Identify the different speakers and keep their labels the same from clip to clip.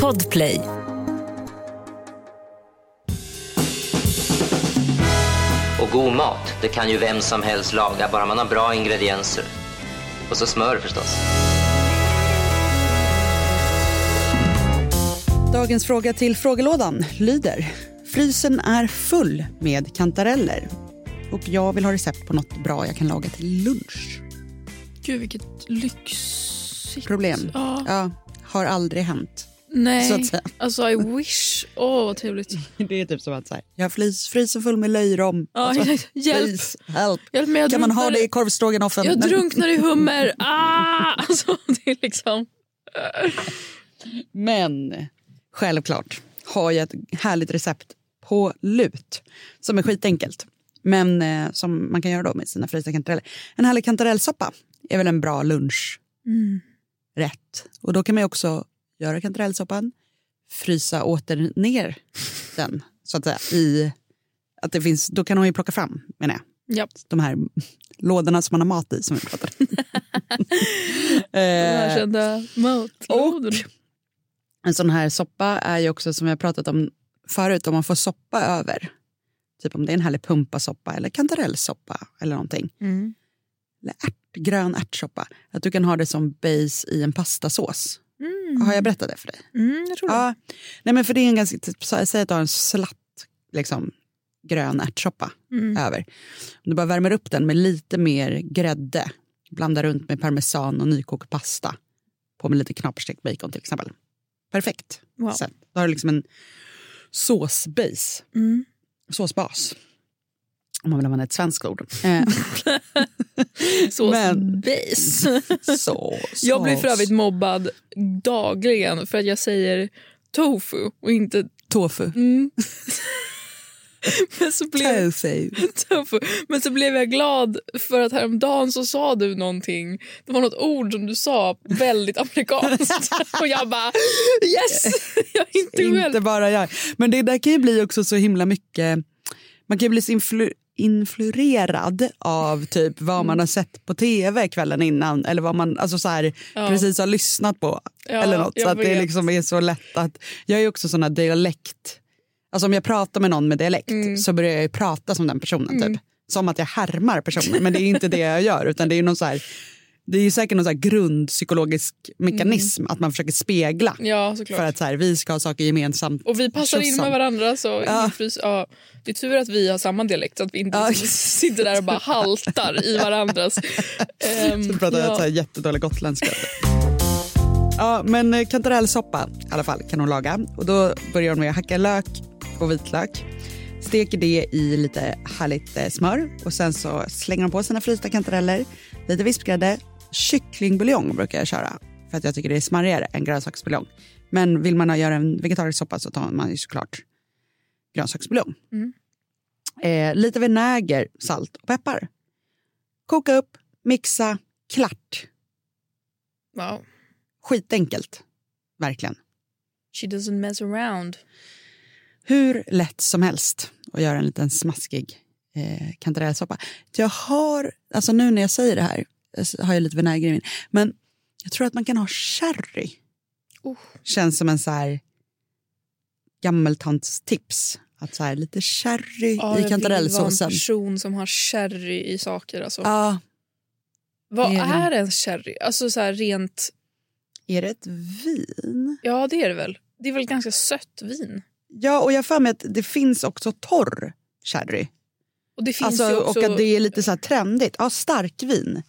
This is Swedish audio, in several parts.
Speaker 1: Podplay.
Speaker 2: Och god mat, det kan ju vem som helst laga, bara man har bra ingredienser. Och så smör förstås.
Speaker 3: Dagens fråga till frågelådan lyder. Frysen är full med kantareller. Och jag vill ha recept på något bra jag kan laga till lunch.
Speaker 4: Gud vilket lyxigt.
Speaker 3: Problem.
Speaker 4: Ja.
Speaker 3: Ja, har aldrig hänt.
Speaker 4: Nej,
Speaker 3: så att säga.
Speaker 4: alltså I wish. Åh vad trevligt.
Speaker 3: Det är typ som att så här, jag har flis, frysen full med löjrom.
Speaker 4: Ja, hjälp.
Speaker 3: Flis, help.
Speaker 4: Hjälp mig, jag
Speaker 3: Kan man ha
Speaker 4: drunknar
Speaker 3: det
Speaker 4: i-
Speaker 3: i korvstroganoffen?
Speaker 4: Jag
Speaker 3: Nej.
Speaker 4: drunknar i hummer. Ah! Alltså, det är liksom...
Speaker 3: Men självklart har jag ett härligt recept på lut som är skitenkelt. Men eh, som man kan göra då med sina frysta kantareller. En härlig kantarellsoppa är väl en bra lunchrätt. Och då kan man ju också göra kantarellsoppan, frysa åter ner den så att säga. I, att det finns, då kan hon ju plocka fram, menar jag,
Speaker 4: Ja,
Speaker 3: de här lådorna som man har mat i som vi pratade om. Eh,
Speaker 4: välkända matlådor.
Speaker 3: en sån här soppa är ju också som jag pratat om förut, om man får soppa över. Typ om det är en härlig pumpasoppa eller kantarellsoppa eller någonting.
Speaker 4: Mm.
Speaker 3: Eller ärt, grön ärtsoppa. Att du kan ha det som base i en pastasås.
Speaker 4: Mm.
Speaker 3: Har jag berättat det för dig?
Speaker 4: Mm, jag tror det.
Speaker 3: Ja. Nej men för det är en ganska, typ, så här, säg att du har en slatt liksom, grön ärtsoppa
Speaker 4: Mm.
Speaker 3: över. Om du bara värmer upp den med lite mer grädde. Blanda runt med parmesan och nykokt pasta. På med lite knaperstekt bacon till exempel. Perfekt.
Speaker 4: Wow.
Speaker 3: Sen, då har du liksom en såsbase.
Speaker 4: Mm.
Speaker 3: Såsbas. Om man vill använda ett svenskt ord. Eh, Men-
Speaker 4: Såsbase.
Speaker 3: sås.
Speaker 4: Jag blir för övrigt mobbad dagligen för att jag säger tofu och inte...
Speaker 3: Tofu.
Speaker 4: Mm. Men så blev
Speaker 3: Tofu.
Speaker 4: tofu. Men så blev jag glad för att häromdagen så sa du någonting. Det var något ord som du sa väldigt amerikanskt. Och jag bara yes! Jag är inte själv.
Speaker 3: Inte bara jag. Men det där kan ju bli också så himla mycket... Man kan ju bli så influ- influerad av typ vad man har sett på tv kvällen innan eller vad man alltså så här,
Speaker 4: Ja.
Speaker 3: precis har lyssnat på.
Speaker 4: Ja,
Speaker 3: eller något, så
Speaker 4: jag
Speaker 3: att det
Speaker 4: vet.
Speaker 3: liksom är så lätt att... Jag är ju också sån här dialekt... Alltså om jag pratar med någon med dialekt
Speaker 4: Mm.
Speaker 3: så börjar jag ju prata som den personen. Typ. Som att jag härmar personen, men det är inte det jag gör. utan det är ju någon så här... Det är ju säkert någon så här grundpsykologisk mekanism att man försöker spegla
Speaker 4: Mm. Ja, såklart.
Speaker 3: för att så här, vi ska ha saker gemensamt.
Speaker 4: Och vi passar in
Speaker 3: Tjosan.
Speaker 4: med varandra. Så
Speaker 3: Ja.
Speaker 4: ja. Frys, ja. Det är tur att vi har samma dialekt så att vi inte
Speaker 3: Ja.
Speaker 4: liksom sitter där och bara haltar i varandras... Ehm,
Speaker 3: Så pratar jag så här jättedålig gotländska. ja, men eh, kantarellsoppa i alla fall kan hon laga. Och då börjar hon med att hacka lök och vitlök. Steker det i lite härligt eh, smör och sen så slänger hon på sina frysta kantareller, lite vispgrädde, kycklingbuljong brukar jag köra för att jag tycker det är smarrigare än grönsaksbuljong. Men vill man ha- göra en vegetarisk soppa så tar man ju såklart grönsaksbuljong.
Speaker 4: Mm.
Speaker 3: Eh, lite vinäger, salt och peppar. Koka upp, mixa, klart.
Speaker 4: Wow.
Speaker 3: Skitenkelt. Verkligen.
Speaker 4: She doesn't mess around.
Speaker 3: Hur lätt som helst att göra en liten smaskig eh, kantarellsoppa. Jag har, alltså nu när jag säger det här, eh, så har jag lite vinäger i min, men jag tror att man kan ha sherry.
Speaker 4: Oh.
Speaker 3: Känns som en så här gammeltantstips. Att så här lite sherry
Speaker 4: Ja,
Speaker 3: i
Speaker 4: jag vill vara en
Speaker 3: kantarellsåsen.
Speaker 4: person som har sherry i saker. Alltså.
Speaker 3: Ja,
Speaker 4: Vad
Speaker 3: det är
Speaker 4: är ens sherry? Alltså så här rent...
Speaker 3: är det ett vin?
Speaker 4: Ja, det är det väl. Det är väl ganska sött vin?
Speaker 3: Ja, och jag har för mig att det finns också torr sherry.
Speaker 4: Och det finns ju
Speaker 3: Alltså,
Speaker 4: också,
Speaker 3: Och att det
Speaker 4: det,
Speaker 3: är lite så här trendigt. Ja, starkvin.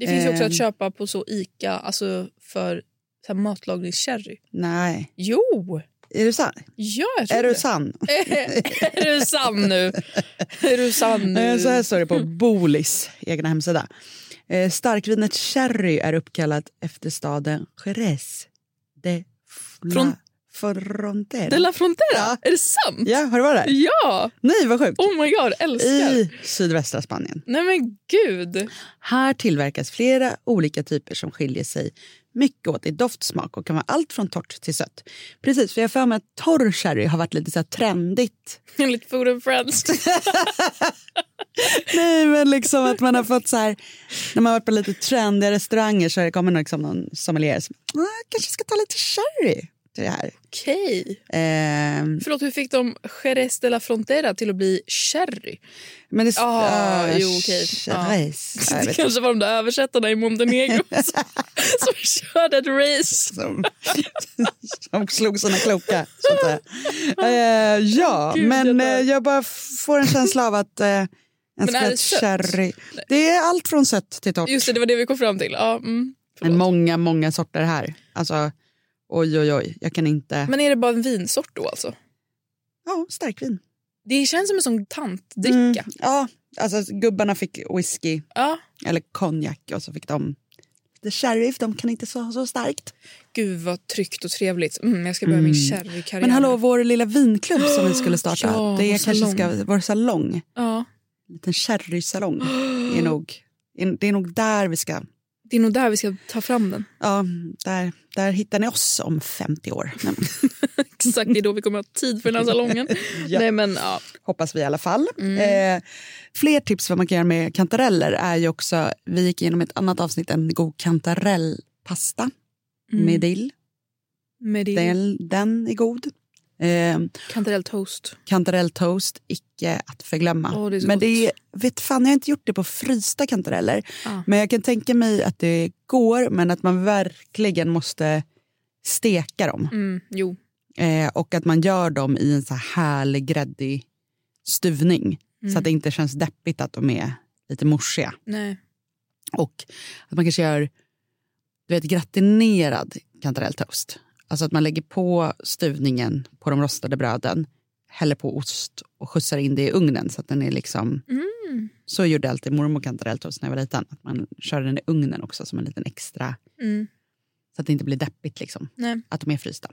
Speaker 4: finns ju också
Speaker 3: ehm.
Speaker 4: att köpa på så Ica alltså för så här matlagningssherry.
Speaker 3: Nej.
Speaker 4: Jo!
Speaker 3: Är du sann?
Speaker 4: Ja, jag tror
Speaker 3: Är du
Speaker 4: det.
Speaker 3: sann?
Speaker 4: är du sann nu? Är du sann nu?
Speaker 3: Eh, Så här står det på
Speaker 4: Mm.
Speaker 3: Bolis egna hemsida. Eh, Starkvinet Cherry är uppkallat efter staden Jerez de
Speaker 4: Från-
Speaker 3: Fla... Frontera.
Speaker 4: De la Frontera?
Speaker 3: Ja.
Speaker 4: Är det sant?
Speaker 3: Ja, har du varit där?
Speaker 4: Ja!
Speaker 3: Nej, vad sjukt.
Speaker 4: Oh my god, älskar.
Speaker 3: I sydvästra Spanien.
Speaker 4: Nej men gud.
Speaker 3: Här tillverkas flera olika typer som skiljer sig mycket åt i doftsmak och kan vara allt från torrt till sött. Precis, för jag har för mig att torr sherry har varit lite så här trendigt
Speaker 4: Enligt Food and Friends.
Speaker 3: Nej, men liksom att man har fått så här... När man har varit på lite trendiga restauranger så har det kommit liksom någon sommelier som "Ah, jag kanske ska ta lite curry till det här.
Speaker 4: Okej.
Speaker 3: Ehm,
Speaker 4: Förlåt, hur fick de Jerez de la Frontera till att bli cherry?
Speaker 3: men det...
Speaker 4: Ah,
Speaker 3: ah,
Speaker 4: jo, okej. Ja.
Speaker 3: Race. Ja, jag
Speaker 4: det
Speaker 3: vet
Speaker 4: kanske var de där översättarna i Montenegro som, som körde ett race.
Speaker 3: som, som slog sina kloka. Sånt där. Eh, ja,
Speaker 4: Gud, jag
Speaker 3: men
Speaker 4: dör.
Speaker 3: eh, jag bara f- får en känsla av att eh, en
Speaker 4: är det
Speaker 3: skvätt
Speaker 4: sött?
Speaker 3: sherry... Det är allt från sött till torrt.
Speaker 4: Just det, det var det vi kom fram till. Ja, mm,
Speaker 3: Men
Speaker 4: förlåt.
Speaker 3: många, många sorter här. Alltså, oj, oj, oj. Jag kan inte...
Speaker 4: Men är det bara en vinsort då alltså?
Speaker 3: Ja, starkvin.
Speaker 4: Det känns som en sån tantdricka.
Speaker 3: Mm, ja, alltså gubbarna fick whisky
Speaker 4: Ja.
Speaker 3: eller konjak och så fick de... The sheriff, de kan inte så, så starkt.
Speaker 4: Gud vad tryggt och trevligt. Mm, jag ska börja min sherrykarriär.
Speaker 3: Men hallå, vår lilla vinklubb som vi skulle starta.
Speaker 4: Ja,
Speaker 3: det
Speaker 4: vår
Speaker 3: är kanske
Speaker 4: salong.
Speaker 3: ska vår salong.
Speaker 4: Ja.
Speaker 3: En liten sherrysalong. är nog, är- det är nog där vi ska...
Speaker 4: Det är nog där vi ska ta fram den.
Speaker 3: Ja, där, där hittar ni oss om 50 år. Nej, men,
Speaker 4: Exakt, det är då vi kommer ha tid för den här salongen.
Speaker 3: Ja.
Speaker 4: Nej men ja. Mm,
Speaker 3: hoppas vi i alla fall. Eh, fler tips vad man kan göra med kantareller är ju också... Vi gick igenom ett annat avsnitt, en god kantarellpasta
Speaker 4: Mm.
Speaker 3: med dill.
Speaker 4: Med din
Speaker 3: Den, den är god. Eh,
Speaker 4: kantarelltoast.
Speaker 3: kantarelltoast, icke att förglömma.
Speaker 4: Åh, det är så
Speaker 3: men
Speaker 4: gott.
Speaker 3: det är, vet fan, jag har inte gjort det på frysta kantareller.
Speaker 4: Ah.
Speaker 3: Men jag kan tänka mig att det går, men att man verkligen måste steka dem.
Speaker 4: Mm, jo.
Speaker 3: Eh, och att man gör dem i en så här härlig gräddig stuvning. Så
Speaker 4: Mm.
Speaker 3: att det inte känns deppigt att de är lite morsiga.
Speaker 4: Nej.
Speaker 3: Och att man kanske gör du vet, gratinerad kantarelltoast. Alltså att man lägger på stuvningen på de rostade bröden, häller på ost och skjutsar in det i ugnen så att den är liksom...
Speaker 4: Mm.
Speaker 3: Så gjorde alltid mormor kantarelltoast när jag var liten. Att man körde den i ugnen också som en liten extra...
Speaker 4: Mm.
Speaker 3: Så att det inte blir deppigt liksom.
Speaker 4: Nej.
Speaker 3: Att de är frysta.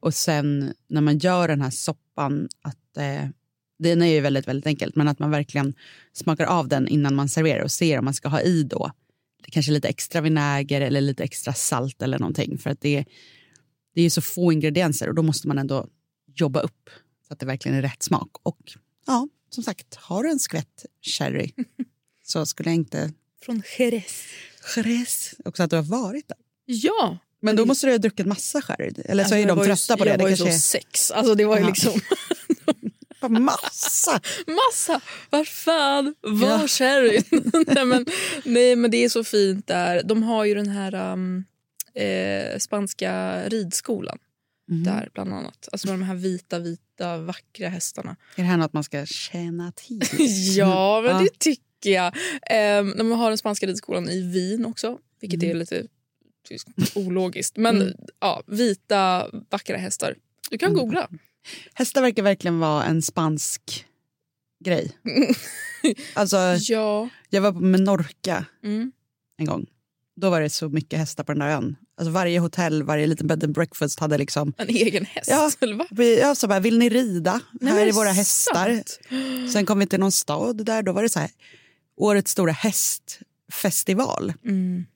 Speaker 3: Och sen när man gör den här soppan, att, eh, den är ju väldigt, väldigt enkelt, men att man verkligen smakar av den innan man serverar och ser om man ska ha i då kanske lite extra vinäger eller lite extra salt eller någonting. För att det, det är ju så få ingredienser och då måste man ändå jobba upp så att det verkligen är rätt smak. Och ja, som sagt, har du en skvätt sherry så skulle jag inte...
Speaker 4: Från Jerez.
Speaker 3: Jerez. Också att du har varit där.
Speaker 4: Ja.
Speaker 3: Men då måste du ha druckit massa sherry. Eller så
Speaker 4: Mm. Alltså,
Speaker 3: är
Speaker 4: jag
Speaker 3: de
Speaker 4: var ju-
Speaker 3: trötta på det.
Speaker 4: Jag
Speaker 3: Det
Speaker 4: var ju
Speaker 3: kanske
Speaker 4: så sex. Alltså det var ju
Speaker 3: Ja.
Speaker 4: liksom
Speaker 3: är massa.
Speaker 4: massa. Var fan var
Speaker 3: Ja.
Speaker 4: sherryn? nej, men, nej men det är så fint där. De har ju den här um, eh, spanska ridskolan
Speaker 3: Mm.
Speaker 4: där bland annat. Alltså med de här vita, vita vackra hästarna.
Speaker 3: Är det här något man ska känna till?
Speaker 4: Ja, men
Speaker 3: Ja.
Speaker 4: det tycker jag. Ehm, när man har den spanska ridskolan i Wien också, vilket
Speaker 3: Mm.
Speaker 4: är lite ologiskt. Men
Speaker 3: Mm.
Speaker 4: ja, vita, vackra hästar. Du kan
Speaker 3: Underbart.
Speaker 4: googla.
Speaker 3: Hästar verkar verkligen vara en spansk grej. Alltså,
Speaker 4: Ja.
Speaker 3: jag var på Menorca
Speaker 4: Mm.
Speaker 3: en gång. Då var det så mycket hästar på den där ön. Alltså varje hotell, varje liten bed and breakfast hade liksom...
Speaker 4: En egen häst?
Speaker 3: Ja.
Speaker 4: Eller va?
Speaker 3: Vi- Jag sa bara, vill ni rida?
Speaker 4: Nej, men
Speaker 3: här
Speaker 4: det
Speaker 3: är
Speaker 4: är
Speaker 3: våra hästar.
Speaker 4: sant.
Speaker 3: Sen kom vi till någon stad där, då var det så här, årets stora hästfestival.
Speaker 4: Mm.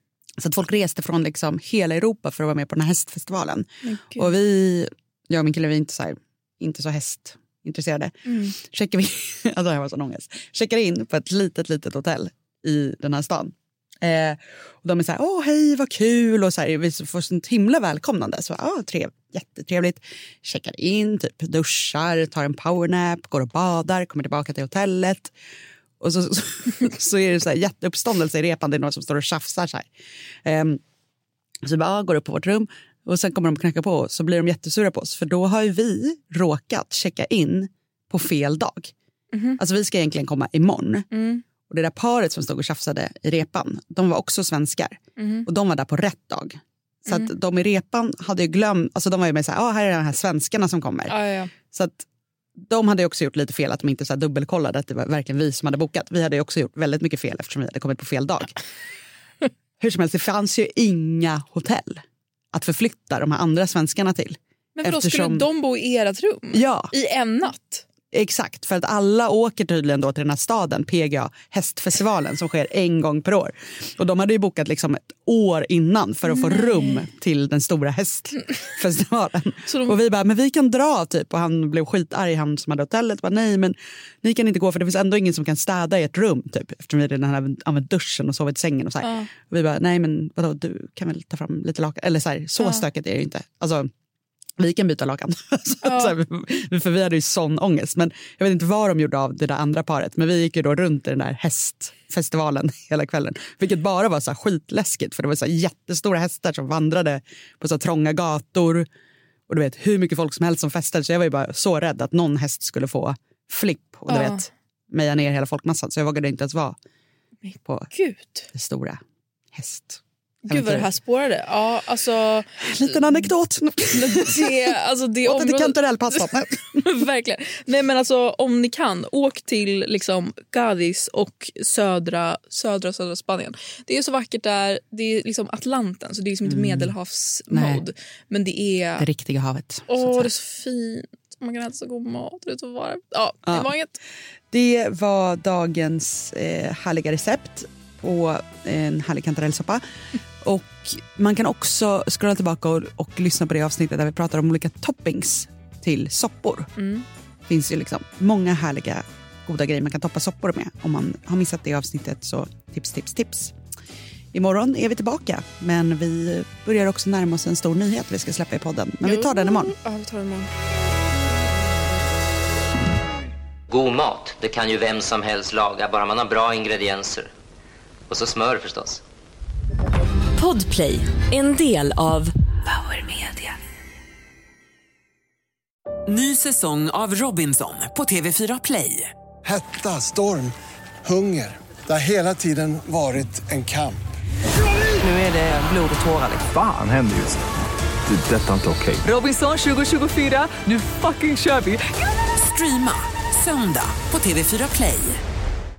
Speaker 3: Så att folk reste från liksom hela Europa för att vara med på den här hästfestivalen.
Speaker 4: Men gud.
Speaker 3: Och vi, jag och min kille, vi är inte så, här, inte så hästintresserade.
Speaker 4: Mm.
Speaker 3: Checkar vi, alltså jag var sån ångest. Checkar in på ett litet, litet hotell i den här stan. Eh, och de är så här, åh hej vad kul och så här, vi får sånt himla välkomnande. Så ah, trev, jättetrevligt. Checkar in, typ duschar, tar en powernap, går och badar, kommer tillbaka till hotellet. Och så, så, så är det så här jätteuppståndelse i repan, det är någon som står och tjafsar så här. Ehm, så vi bara, ah, går upp på vårt rum och sen kommer de knacka på oss, så blir de jättesura på oss för då har ju vi råkat checka in på fel dag.
Speaker 4: Mhm.
Speaker 3: Alltså vi ska egentligen komma imorgon
Speaker 4: Mm.
Speaker 3: och det där paret som stod och tjafsade i repan, de var också svenskar
Speaker 4: Mhm.
Speaker 3: och de var där på rätt dag. Så att de i repan hade ju glömt, alltså de var ju med så här, ah, här är de här svenskarna som kommer.
Speaker 4: Ja, ja, ja.
Speaker 3: Så att de hade ju också gjort lite fel att de inte så här dubbelkollade att det var verkligen vi som hade bokat. Vi hade ju också gjort väldigt mycket fel eftersom vi hade kommit på fel dag. Hur som helst, det fanns ju inga hotell att förflytta de här andra svenskarna till.
Speaker 4: Men då skulle
Speaker 3: Eftersom-
Speaker 4: de bo i ert rum?
Speaker 3: Ja,
Speaker 4: I en natt?
Speaker 3: Exakt, för att alla åker tydligen då till den här staden, PGA, hästfestivalen som sker en gång per år. Och de hade ju bokat liksom ett år innan för att få rum till den stora hästfestivalen.
Speaker 4: Så de-
Speaker 3: Och vi bara, men vi kan dra typ. Och han blev skitarg, han som hade hotellet. Bara, Nej, men ni kan inte gå för det finns ändå ingen som kan städa i ett rum typ. Eftersom vi redan hade använt duschen och sovit i sängen och så här.
Speaker 4: Ja.
Speaker 3: Och vi bara, nej men vadå, du kan väl ta fram lite lakan. Eller så här, så stökigt är det ju inte. Alltså, vi kan byta lakan. Så,
Speaker 4: Ja.
Speaker 3: så här, för vi hade ju sån ångest. Men jag vet inte vad de gjorde av det där andra paret. Men vi gick ju då runt i den där hästfestivalen hela kvällen. Vilket bara var så här skitläskigt. För det var så här jättestora hästar som vandrade på så här trånga gator. Och du vet hur mycket folk som helst som festade. Så jag var ju bara så rädd att någon häst skulle få flipp. Och du
Speaker 4: Ja.
Speaker 3: vet, meja ner hela folkmassan. Så jag vågade inte ens vara på
Speaker 4: Gud.
Speaker 3: det stora häst.
Speaker 4: Gud vad det här spårade. Ja, alltså,
Speaker 3: Liten anekdot.
Speaker 4: det, alltså det
Speaker 3: Åter till
Speaker 4: området...
Speaker 3: kantarellpastan.
Speaker 4: Verkligen. Nej, men alltså, om ni kan, åk till liksom, Cádiz och södra, södra, södra Spanien. Det är så vackert där. Det är liksom Atlanten, så det är liksom inte medelhavsmod. Men det
Speaker 3: Mm. Det
Speaker 4: är...
Speaker 3: riktiga havet. så att
Speaker 4: Åh, det
Speaker 3: säga.
Speaker 4: är så fint. Man kan äta så god mat. Det är så varmt. Ja, det
Speaker 3: Ja.
Speaker 4: var inget.
Speaker 3: Det var dagens eh, härliga recept på en härlig kantarellsoppa. Och man kan också scrolla tillbaka och, och lyssna på det avsnittet där vi pratar om olika toppings till soppor.
Speaker 4: Mm.
Speaker 3: Det finns ju liksom många härliga goda grejer man kan toppa soppor med. Om man har missat det avsnittet så tips, tips, tips. Imorgon är vi tillbaka, men vi börjar också närma oss en stor nyhet vi ska släppa i podden. Men vi tar den imorgon.
Speaker 4: Ja, vi tar den imorgon.
Speaker 2: God mat, det kan ju vem som helst laga, bara man har bra ingredienser. Och så smör förstås.
Speaker 1: Podplay, en del av Power Media.
Speaker 5: Ny säsong av Robinson på TV4 Play.
Speaker 6: Hetta, storm, hunger. Det har hela tiden varit en kamp.
Speaker 5: Nu är det blod och tårar.
Speaker 7: fan händer just nu? Det. är Detta är inte okej.
Speaker 5: Robinson 2024, nu fucking kör vi! Streama söndag på TV4 Play.